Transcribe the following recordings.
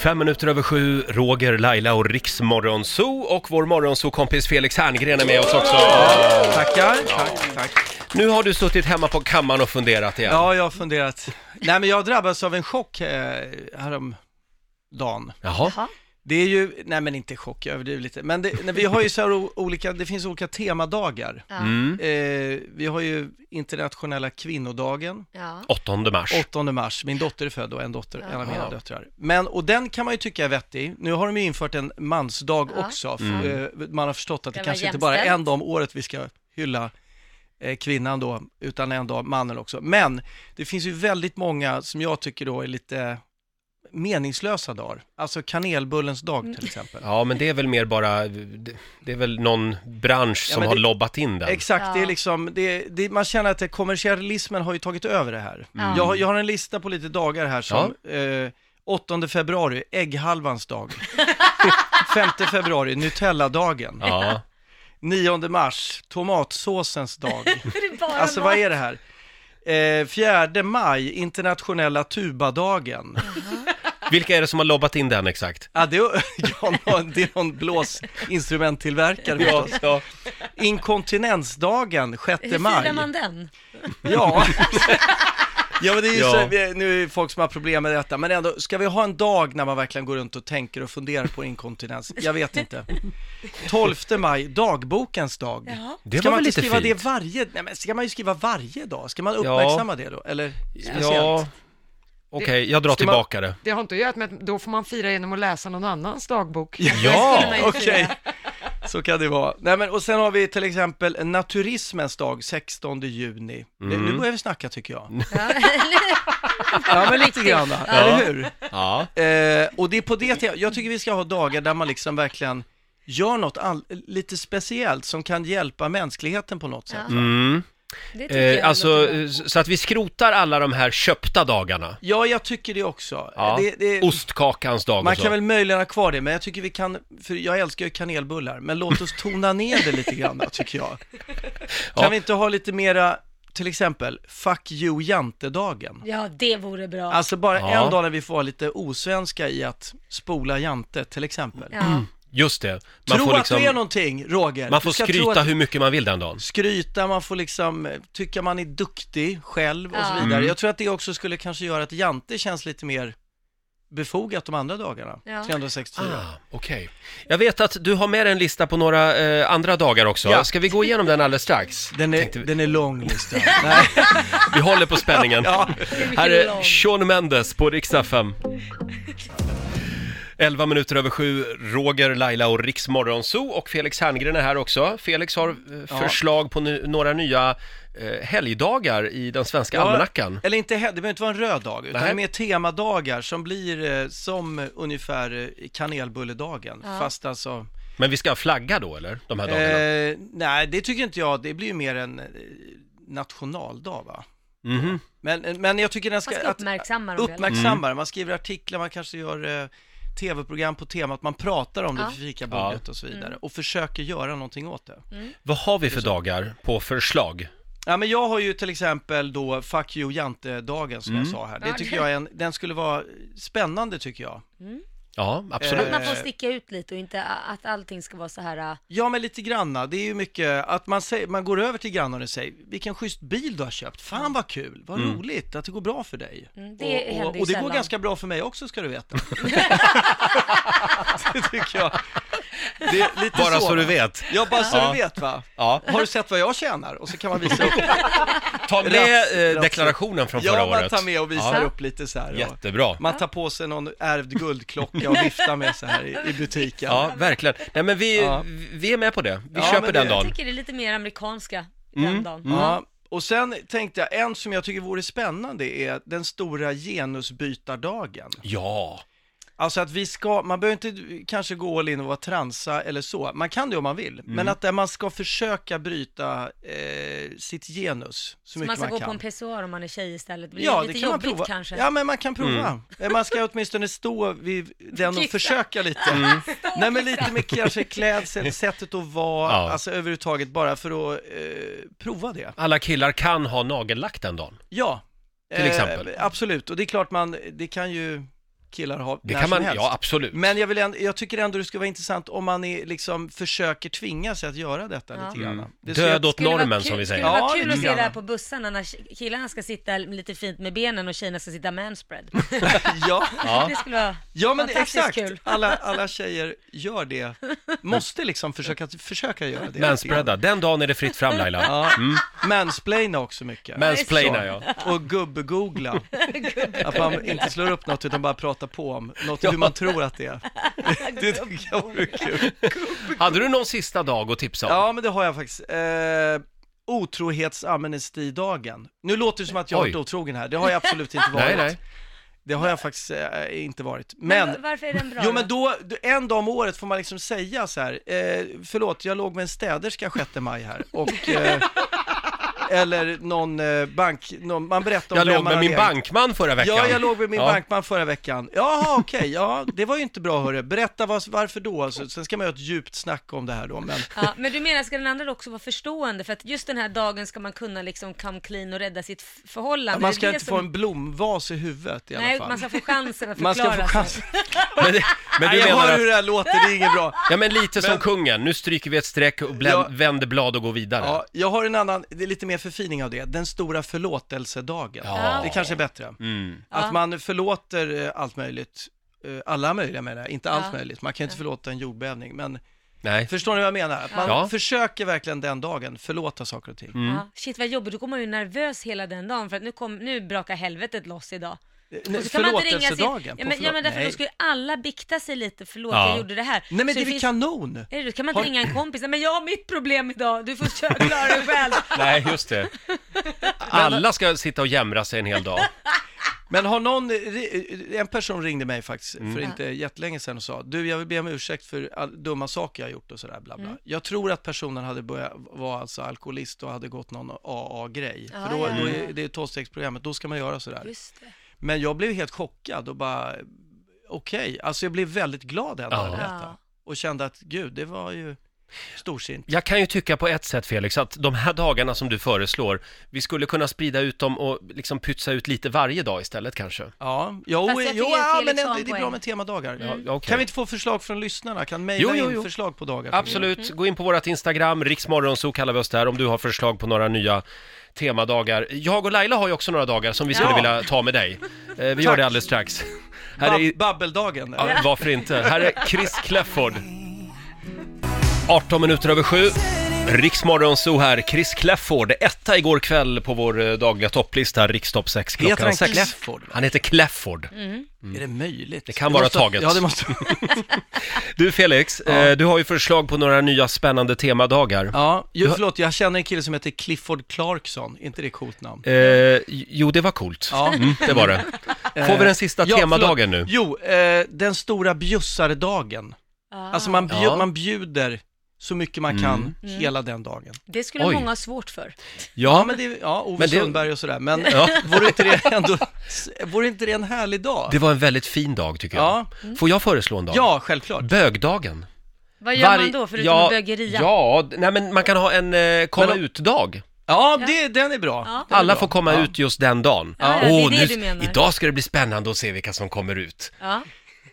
Fem minuter över sju, Roger, Laila och Riksmorgonzoo och vår morgonzoo-kompis Felix Herngren är med oss också. Tackar, tack, tack. Nu har du suttit hemma på kammaren och funderat igen. Ja, jag har funderat. Nej, men jag drabbades av en chock eh, häromdagen. Jaha. Jaha. Det är ju, nej men inte chock, jag överdriver lite, men det, nej, vi har ju så här o- olika, det finns olika temadagar. Ja. Mm. Eh, vi har ju internationella kvinnodagen, Ja. 8 mars. 8 mars, min dotter är född och en dotter, en av Ja. mina döttrar. Men, och den kan man ju tycka är vettig, nu har de ju infört en mansdag Ja. också, Mm. För, eh, man har förstått att det Det var kanske inte bara är jämställt. en dag om året vi ska hylla eh, kvinnan då, utan en dag mannen också. Men det finns ju väldigt många som jag tycker då är lite meningslösa dagar, alltså kanelbullens dag Mm. till exempel. Ja, men det är väl mer bara, det- det är väl någon bransch Ja, som men har det- lobbat in den. Exakt, det Ja. är liksom, det, det, man känner att det, kommersialismen har ju tagit över det här. Ja. Jag, har- jag har en lista på lite dagar här som eh, 8 februari, ägghalvans dag. 5 februari, Nutella-dagen. Ja. 9 mars, tomatsåsens dag. Det är bara Alltså vad är det här? Eh, 4 maj, internationella tubadagen. Vilka är det som har lobbat in den exakt? Ja, det, är, ja, någon- det är någon blåsinstrumenttillverkare. Ja, förstås. ja. Inkontinensdagen, 6 Hur maj. firar man den? Ja. Ja men det är ju Ja. så, vi- nu är det folk som har problem med detta, men ändå, ska vi ha en dag när man verkligen går runt och tänker och funderar på inkontinens? Jag vet inte. 12 maj, dagbokens dag. Jaha. Det ska var man väl lite inte skriva fint? det varje, nej men ska man ju skriva varje dag? Ska man uppmärksamma det då? Eller speciellt? Ja, okej, jag drar Ska man- tillbaka det. Det har inte att göra med att då får man fira genom att läsa någon annans dagbok. Ja, man ju Okej, så kan det vara. Nej, men, och sen har vi till exempel naturismens dag, 16 juni. Nu- Mm. Nu börjar vi snacka tycker jag. Ja, eller- Ja, men lite grann, eller hur? ja. Eh, och det är på det temat, jag tycker vi ska ha dagar där man liksom verkligen gör något all, lite speciellt som kan hjälpa mänskligheten på något sätt. Ja. Ja. Mm. det tycker jag Eh, alltså, låter bra. eh, så att vi skrotar alla de här köpta dagarna. jag tycker det också. Eh, Ja. Det, det, Ostkakans dag man och så. kan väl möjligen ha kvar det, men jag tycker vi kan, för jag älskar ju kanelbullar, men låt oss tona ner det lite grann tycker jag. Kan Ja. vi inte ha lite mera, till exempel, fuck you jantedagen? Ja, det vore bra. Alltså bara Ja. en dag när vi får vara lite osvenska i att spola jante, till exempel. ja. Just det. Man Tro får, att du är liksom, någonting, Roger. man Du får ska tro skryta att- hur mycket man vill den dagen. skryta, man får liksom eh, tycka man är duktig själv och så Ja. vidare. Mm. Jag tror att det också skulle kanske göra att jante känns lite mer befogat de andra dagarna, Ja. 364. Ah, okej. Jag vet att du har med dig en lista på några eh, andra dagar också. Ja. Ska vi gå igenom den alldeles strax? Den är, Tänkte vi- den är lång listan. Nej, Vi håller på spänningen. ja. Här är lång. Sean Mendes på riksdag 5. 11 minuter över sju, Roger, Laila och Riks Morgonzoo och Felix Herngren är här också. Felix har eh, Ja. förslag på nu, några nya eh, helgdagar i den svenska almanackan. Eller inte, he- det behöver inte vara en röd dag, utan Nej. det är mer temadagar som blir eh, som eh, ungefär eh, kanelbulledagen, Ja. fast alltså Men vi ska flagga då eller? De här dagarna? Eh, nej, det tycker inte jag. Det blir ju mer en eh, nationaldag, va? Mhm. Men, men jag tycker den ska... Man ska uppmärksamma dem. uppmärksammar. Man skriver artiklar, man kanske gör eh, tv-program på temat, man pratar om det Ja. Mm. för fikabordet och så vidare och försöker göra någonting åt det. Vad har vi för dagar på förslag? Ja, men jag har ju till exempel då Fuck you Jante-dagen som jag sa här. Det Ja, tycker det- jag är en, den skulle vara spännande tycker jag. Ja, absolut. Att man får Eh. sticka ut lite och inte a- att allting ska vara så här. ah, Ja, men lite granna. Det är ju mycket att man, säger, man går över till grannarna och säger vilken schysst bil du har köpt. Fan vad kul, vad roligt att det går bra för dig. Mm, det och, händer och, ju och det går sällan. ganska bra för mig också ska du veta. det tycker jag. Det är lite Bara så va? du vet. Ja, bara så Ja. du vet va. Ja. Har du sett vad jag tjänar? Och så kan man visa upp. Ta med eh, Raps- raps- deklarationen från förra Ja, man året. tar med och visar Ja. upp lite så här. och Jättebra. Man tar på sig någon ärvd guldklocka och viftar med så här i, i butiken. Ja, verkligen. Nej men vi, Ja. vi är med på det. Vi Ja, köper men den det- Jag dagen. tycker det är lite mer amerikanska Mm. den dagen. Ja, Mm. och sen tänkte jag, en som jag tycker vore spännande är den stora genusbytardagen. Ja. Alltså att vi ska, man behöver inte kanske gå all in och vara transa eller så, man kan det om man vill, Mm. men att där man ska försöka bryta eh, sitt genus så, Så man mycket ska man gå kan. på en pissoar om man är tjej istället. Det blir Ja, det lite kan man jobbigt prova. kanske. Ja, men man kan Mm. prova. Eh, Man ska åtminstone stå vid den och Kissa. försöka lite. Mm. Nej, men lite med kanske klädsel, sättet att vara, Ja. alltså överhuvudtaget bara för att eh, prova det. Alla killar kan ha nagellack den dagen. Ja. Eh, Till exempel. absolut, och det är klart man, det kan ju killar ha Det när kan som man, helst. ja absolut. Men jag, vill ändå, jag tycker ändå det skulle vara intressant om man är, liksom, försöker tvinga sig att göra detta Ja. lite grann. Mm. Det ser Död jag- åt Skulle vara normen kul- som vi säger. Skulle Ja, vara kul att lite se det här grann. på bussarna när killarna ska sitta lite fint med benen och tjejerna ska sitta manspread. Ja, Ja. Det skulle vara... ja men Fantastiskt exakt. kul. Alla, alla tjejer gör det. Måste liksom försöka, försöka göra det. Manspreada, den dagen är det fritt fram Laila. Ja. Mansplaina också mycket. Mm. Mansplaina ja. Och gubb-googla. Att man inte slår upp något utan bara pratar på om något, hur man tror att det är. Det tycker jag vore kul. Hade du någon sista dag att tipsa om? Ja, men det har jag faktiskt. Eh, Otrohetsamnestidagen. Nu låter det som att jag har Oj. varit otrogen här, det har jag absolut inte Nej, varit. nej. Det har jag faktiskt eh, inte varit. Men, Men, varför är den bra jo men då, en dag om året får man liksom säga så här, eh, förlåt, jag låg med en städerska 6 maj här och eh, eller någon eh, bank, någon, man berättar om Jag vem låg man med har min legat. bankman förra veckan. Ja, jag låg med min Ja. bankman förra veckan. Jaha, okej, ja, det var ju inte bra hörru. Berätta vad, varför då? Alltså, sen ska man göra ett djupt snack om det här då, men Ja, men du menar, ska den andra också vara förstående? För att just den här dagen ska man kunna liksom come clean och rädda sitt f- förhållande. man Det är ska det inte som- få en blomvas i huvudet i alla Nej, fall. man ska få chansen att förklara Man ska få chans. sig. Men, men Nej, du jag menar hör hur att, det här låter, det är inget bra. ja men lite som kungen, nu stryker vi ett streck och blä- Ja. vänder blad och går vidare. Ja, jag har en annan, det är lite mer förfining av det, den stora förlåtelsedagen. Ja. Det kanske är bättre. Mm. Att Ja. man förlåter eh, allt möjligt. Eh, Alla möjliga menar jag, inte allt Ja. möjligt. Man kan inte förlåta en jordbävning, men Nej. förstår ni vad jag menar? Att man Ja. Mm. försöker verkligen den dagen förlåta saker och ting. Ja, shit vad jobbigt, då går man ju nervös hela den dagen för att nu, kom, nu brakar helvetet loss idag. Mm. Och så kan man inte ringa sin... Ja Förlåtelsedagen? på men, ja, men förlåt- därför Nej. då ska ju alla bikta sig lite, förlåt Ja. jag gjorde det här. Nej men Så det är väl finns- kanon! Är det, då kan man inte Har- ringa en kompis, "Nej, men jag har mitt problem idag, du får köra klara dig själv. Nej, just det. Alla ska sitta och jämra sig en hel dag. Men har någon, eh, en person ringde mig faktiskt Mm. för inte jättelänge sedan och sa, du jag vill be om ursäkt för all, dumma saker jag har gjort och sådär bla Mm. bla. Jag tror att personen hade börjat vara alltså alkoholist och hade gått någon AA-grej. Ja, för då, ja, då ja. är det är tolvstegsprogrammet, då ska man göra sådär. Just det. Men jag blev helt chockad och bara, okej, alltså jag blev väldigt glad den Ja. dagen över detta. Ja. Och kände att gud, det var ju storsint. Jag kan ju tycka på ett sätt Felix, att de här dagarna som du föreslår, vi skulle kunna sprida ut dem och liksom pytsa ut lite varje dag istället kanske. Ja, jo, Fast jag jo tycker ja, Felix men har ändå, en det är bra poäng. med temadagar. Ja, Mm. okej. Kan vi inte få förslag från lyssnarna? Kan Jo, mejla jo, in jo. förslag på dagar? Absolut, gå in på vårt Instagram, riksmorgonso kallar vi oss där, om du har förslag på några nya temadagar. Jag och Laila har ju också några dagar som vi skulle Ja. vilja ta med dig. Eh, Vi gör Tack. det alldeles strax. Här är, Bab- babbeldagen. eller? ja, varför inte? Här är Chris Clefford. 18 minuter över sju. Riksmorgonso här, Chris Clefford, etta igår kväll på vår eh, dagliga topplista, Rikstopp 6 klockan Heter han Mm. sex. Clefford? Han heter Clefford. Är det möjligt? Det kan vara måste- taget. Ja, det måste Du Felix, eh, du har ju förslag på några nya spännande temadagar. Ja, jo, förlåt, jag känner en kille som heter Clifford Clarkson. inte det coolt namn? Eh, jo, det var coolt. Ja. Mm, det var det. Får vi den sista Ja, temadagen nu? förlåt. Eh, Jo, eh, den stora bjussaredagen. Ah. Alltså man, bjud, Ja. Mm. man bjuder så mycket man kan Mm. hela den dagen. det skulle Oj. många ha svårt för. Ja, Ja, men det, ja, Ove Men det- Sundberg och sådär, men Ja. vore, inte det ändå, vore inte det en härlig dag? det var en väldigt fin dag tycker jag. Ja. Får jag föreslå en dag? Ja, självklart. Bögdagen. Vad gör Varje- man då förutom ja, att bögeria? Ja, d- nej men man kan ha en eh, komma Men- ut-dag. Ja, det, den är bra. Ja. Den är Alla bra. får komma Ja. ut just den dagen. Ja, ja, det är Åh, det nu, du menar. Idag ska det bli spännande att se vilka som kommer ut. Ja.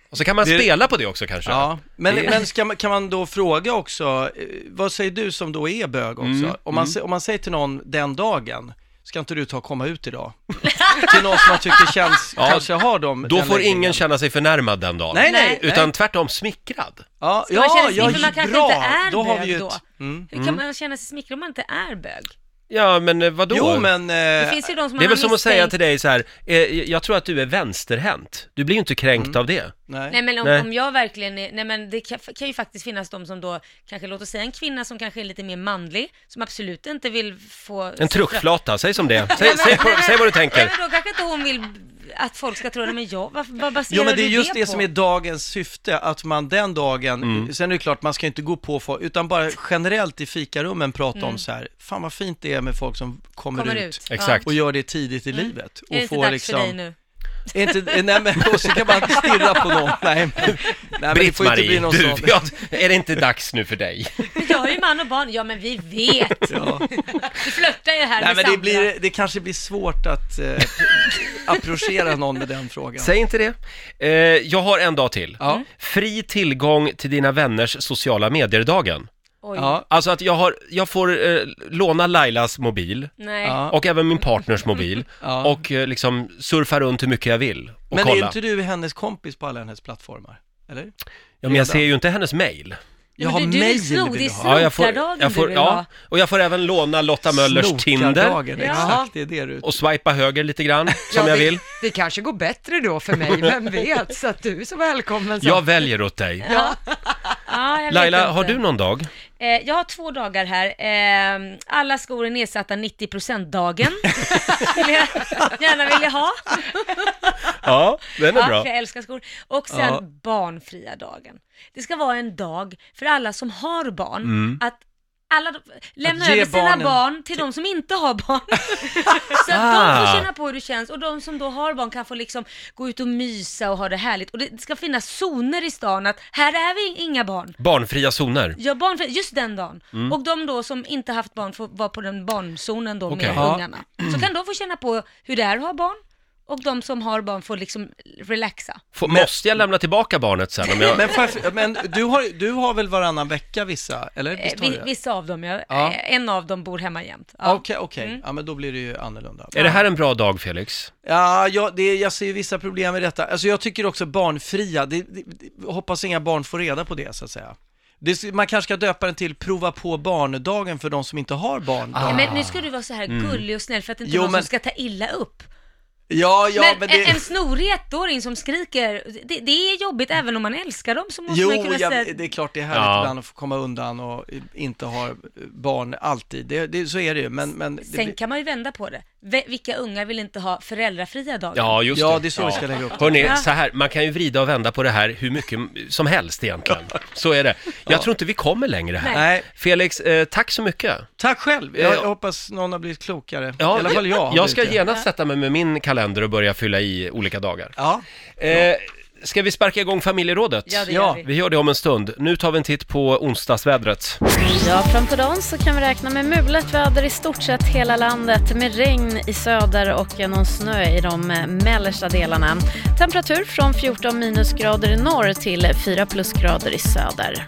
Och så kan man Det- spela på det också kanske. Ja, men, Det- men ska man, kan man då fråga också, eh, vad säger du som då är bög också? Mm, om, man, sä- om man säger till någon den dagen, ska inte du ta och komma ut idag? till någon som man tycker känns, Ja, kanske har dem. Då den får läggningen. ingen känna sig förnärmad den dagen. Nej, nej. Utan nej. tvärtom smickrad. Ja, Ska man ja, känna sig ja, smickrad? Man kanske bra. inte är då har bög vi ju då? ett, mm. Hur kan man känna sig smickrad om man inte är bög? Ja, men eh, vadå? Jo, men... Eh, Det finns ju de som Det är väl man har som att säga misstänkt- till dig så här, eh, jag tror att du är vänsterhänt. Du blir ju inte kränkt Mm. av det. nej. Nej men om, Nej. om jag verkligen är, nej men det kan, kan ju faktiskt finnas de som då, kanske låt oss säga en kvinna som kanske är lite mer manlig, som absolut inte vill få... En truckflata, säg som det säg, säg, säg, vad du Nej tänker. men då kanske inte hon vill att folk ska tro, nej men jag, vad, vad baserar Jo men det är du just det, det, på? som är dagens syfte, att man den dagen, Mm. sen är det klart man ska inte gå på folk, utan bara generellt i fikarummen prata om så här, fan vad fint det är med folk som kommer, Mm. Kommer ut. ut. Exakt. och gör det tidigt i livet. Ja. Mm. Är det Och inte får dags liksom, för dig nu? Är inte, nej men, och så kan man inte stirra på någon. Nej, men, nej, men det får ju inte Britt-Marie, bli någon du, sån. ja, är det inte dags nu för dig? Men jag är ju man och barn. Ja, men vi vet. Ja. Vi flörtar ju här Nej, men med det, Sandra. blir, det kanske blir svårt att eh, approchera någon med den frågan. Säg inte det. Eh, jag har en dag till. Mm. Ja. Fri tillgång till dina vänners sociala medier-dagen. Oj. Ja, Alltså att jag, har, jag får eh, låna Lailas mobil Nej. ja, och även min partners mobil ja. och eh, liksom surfa runt hur mycket jag vill och men är kolla. inte du hennes kompis på alla hennes plattformar? Eller? Ja, men jag ser ju inte hennes mail. Nej, men Jaha, du, du mejl vill sno, vill det är du ha. Ja, jag får, snokardagen jag du får, vill ha. ja, och jag får även låna Lotta Möllers Tinder Snokardagen, Ja. Exakt, det är det du... och swipa höger lite grann som Ja, jag det- vill. Det kanske går bättre då för mig, vem vet? Så att du är så välkommen. Så. Jag väljer åt dig. Ja. Ja, jag vet Laila, har inte. du någon dag? Eh, jag har två dagar här. Eh, alla skor är nedsatta 90%-dagen. Vill jag gärna vilja ha. Ja, den Ja, för jag älskar skor. Och sen Ja. barnfria dagen. Det ska vara en dag för alla som har barn att alla, de- lämna Mm. Att ge över sina barnen- barn till de som inte har barn. så att de Ah. får känna på hur det känns och de som då har barn kan få liksom gå ut och mysa och ha det härligt. Och det ska finnas zoner i stan att här är vi inga barn. Barnfria zoner. Ja, barnfri, just den dagen. Mm. Och de då som inte haft barn får vara på den barnzonen då Okej. med Ja. ungarna. Så kan de få känna på hur det är att ha barn och de som har barn får liksom relaxa. Får, Måste jag lämna tillbaka barnet sen om jag... Men, får jag- men du, har, du har väl varannan vecka vissa, eller? Eh, Visst har du vi- det? vissa av dem, jag, Ja. eh, en av dem bor hemma jämt. Ja. Mm. Ja, Okej, okej. Ja, men då blir det ju annorlunda. Är det här en bra dag, Felix? Ja, jag, det, jag ser ju vissa problem med detta. Alltså jag tycker också barnfria, det, det, det, hoppas inga barn får reda på det så att säga. Det, man kanske ska döpa den till prova på barndagen för de som inte har barn. Ja, Ah. men nu ska du vara så här gullig och snäll för att inte Ah. Mm. Jo, någon men- som ska ta illa upp. Ja, ja, men men, det... en, en snorig ettåring som skriker, det, det är jobbigt även om man älskar dem så måste Jo, man ju kunna säga... jag, det är klart det är härligt Ja. ibland att få komma undan och inte ha barn alltid. Det, det, så är det ju, men... men det, Sen kan man ju vända på det. Ve- Vilka ungar vill inte ha föräldrafria dagar? Ja, just Ja, det är så vi ska lägga upp det. Hörrni, Ja. så här, man kan ju vrida och vända på det här hur mycket som helst egentligen. Så är det. Jag tror inte vi kommer längre här. Nej, Felix, eh, tack så mycket. tack själv. Jag, Ja. jag hoppas någon har blivit klokare. I alla fall jag. har Jag ska blivit det. genast sätta mig med min kalender och börja fylla i olika dagar. Ja, Eh, ska vi sparka igång familjerådet? Ja, det Ja. gör vi. Vi gör det om en stund. Nu tar vi en titt på onsdagsvädret. Ja, framför dagen så kan vi räkna med mulet väder i stort sett hela landet med regn i söder och någon snö i de eh, mellersta delarna. Temperatur från 14 minusgrader i norr till 4 plusgrader i söder.